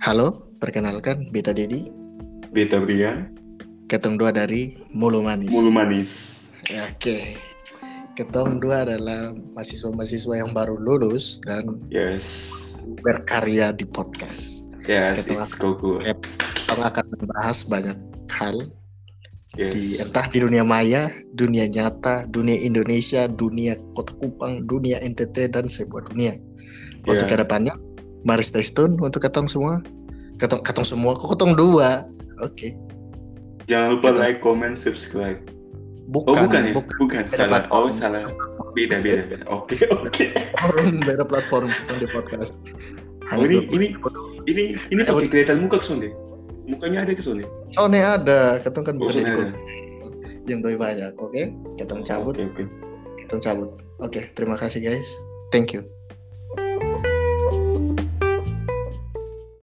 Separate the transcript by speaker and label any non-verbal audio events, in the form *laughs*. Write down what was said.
Speaker 1: Halo, perkenalkan Beta Dedi,
Speaker 2: Beta Brian,
Speaker 1: ketong dua dari Mulu Manis. Ya,
Speaker 2: Mulu Manis.
Speaker 1: Oke. Ketong dua adalah mahasiswa-mahasiswa yang baru lulus dan
Speaker 2: Yes.
Speaker 1: berkarya di podcast.
Speaker 2: Yes,
Speaker 1: Ketua.
Speaker 2: it's so good.
Speaker 1: Kita akan membahas banyak hal
Speaker 2: Yes.
Speaker 1: di entah di dunia maya, dunia nyata, dunia Indonesia, dunia Kota Kupang, dunia NTT dan sebuah dunia. Untuk
Speaker 2: Yeah.
Speaker 1: kedepannya, mari stay tune untuk ketong semua. Ketong, ketong semua, kok ketong dua? Oke.
Speaker 2: Oh, Jangan lupa
Speaker 1: Ketua.
Speaker 2: like, comment, subscribe.
Speaker 1: Bukan,
Speaker 2: Oh bukan, ya?
Speaker 1: bukan.
Speaker 2: Bukan,
Speaker 1: Beda
Speaker 2: salah.
Speaker 1: platform.
Speaker 2: Oh salah. Beda beda. beda. Oke *laughs* oke.
Speaker 1: platform beda platform di podcast.
Speaker 2: Oh, ini
Speaker 1: Halo,
Speaker 2: ini ini ini
Speaker 1: Ayo.
Speaker 2: pakai kelihatan muka kesini. Mukanya ada kesini.
Speaker 1: Sone Oh, ada, ketong kan
Speaker 2: Oh
Speaker 1: bukan
Speaker 2: ada.
Speaker 1: jadi yang doi banyak, oke? Ketong cabut,
Speaker 2: Oke oke.
Speaker 1: ketong cabut. Oke, terima kasih guys. Thank you.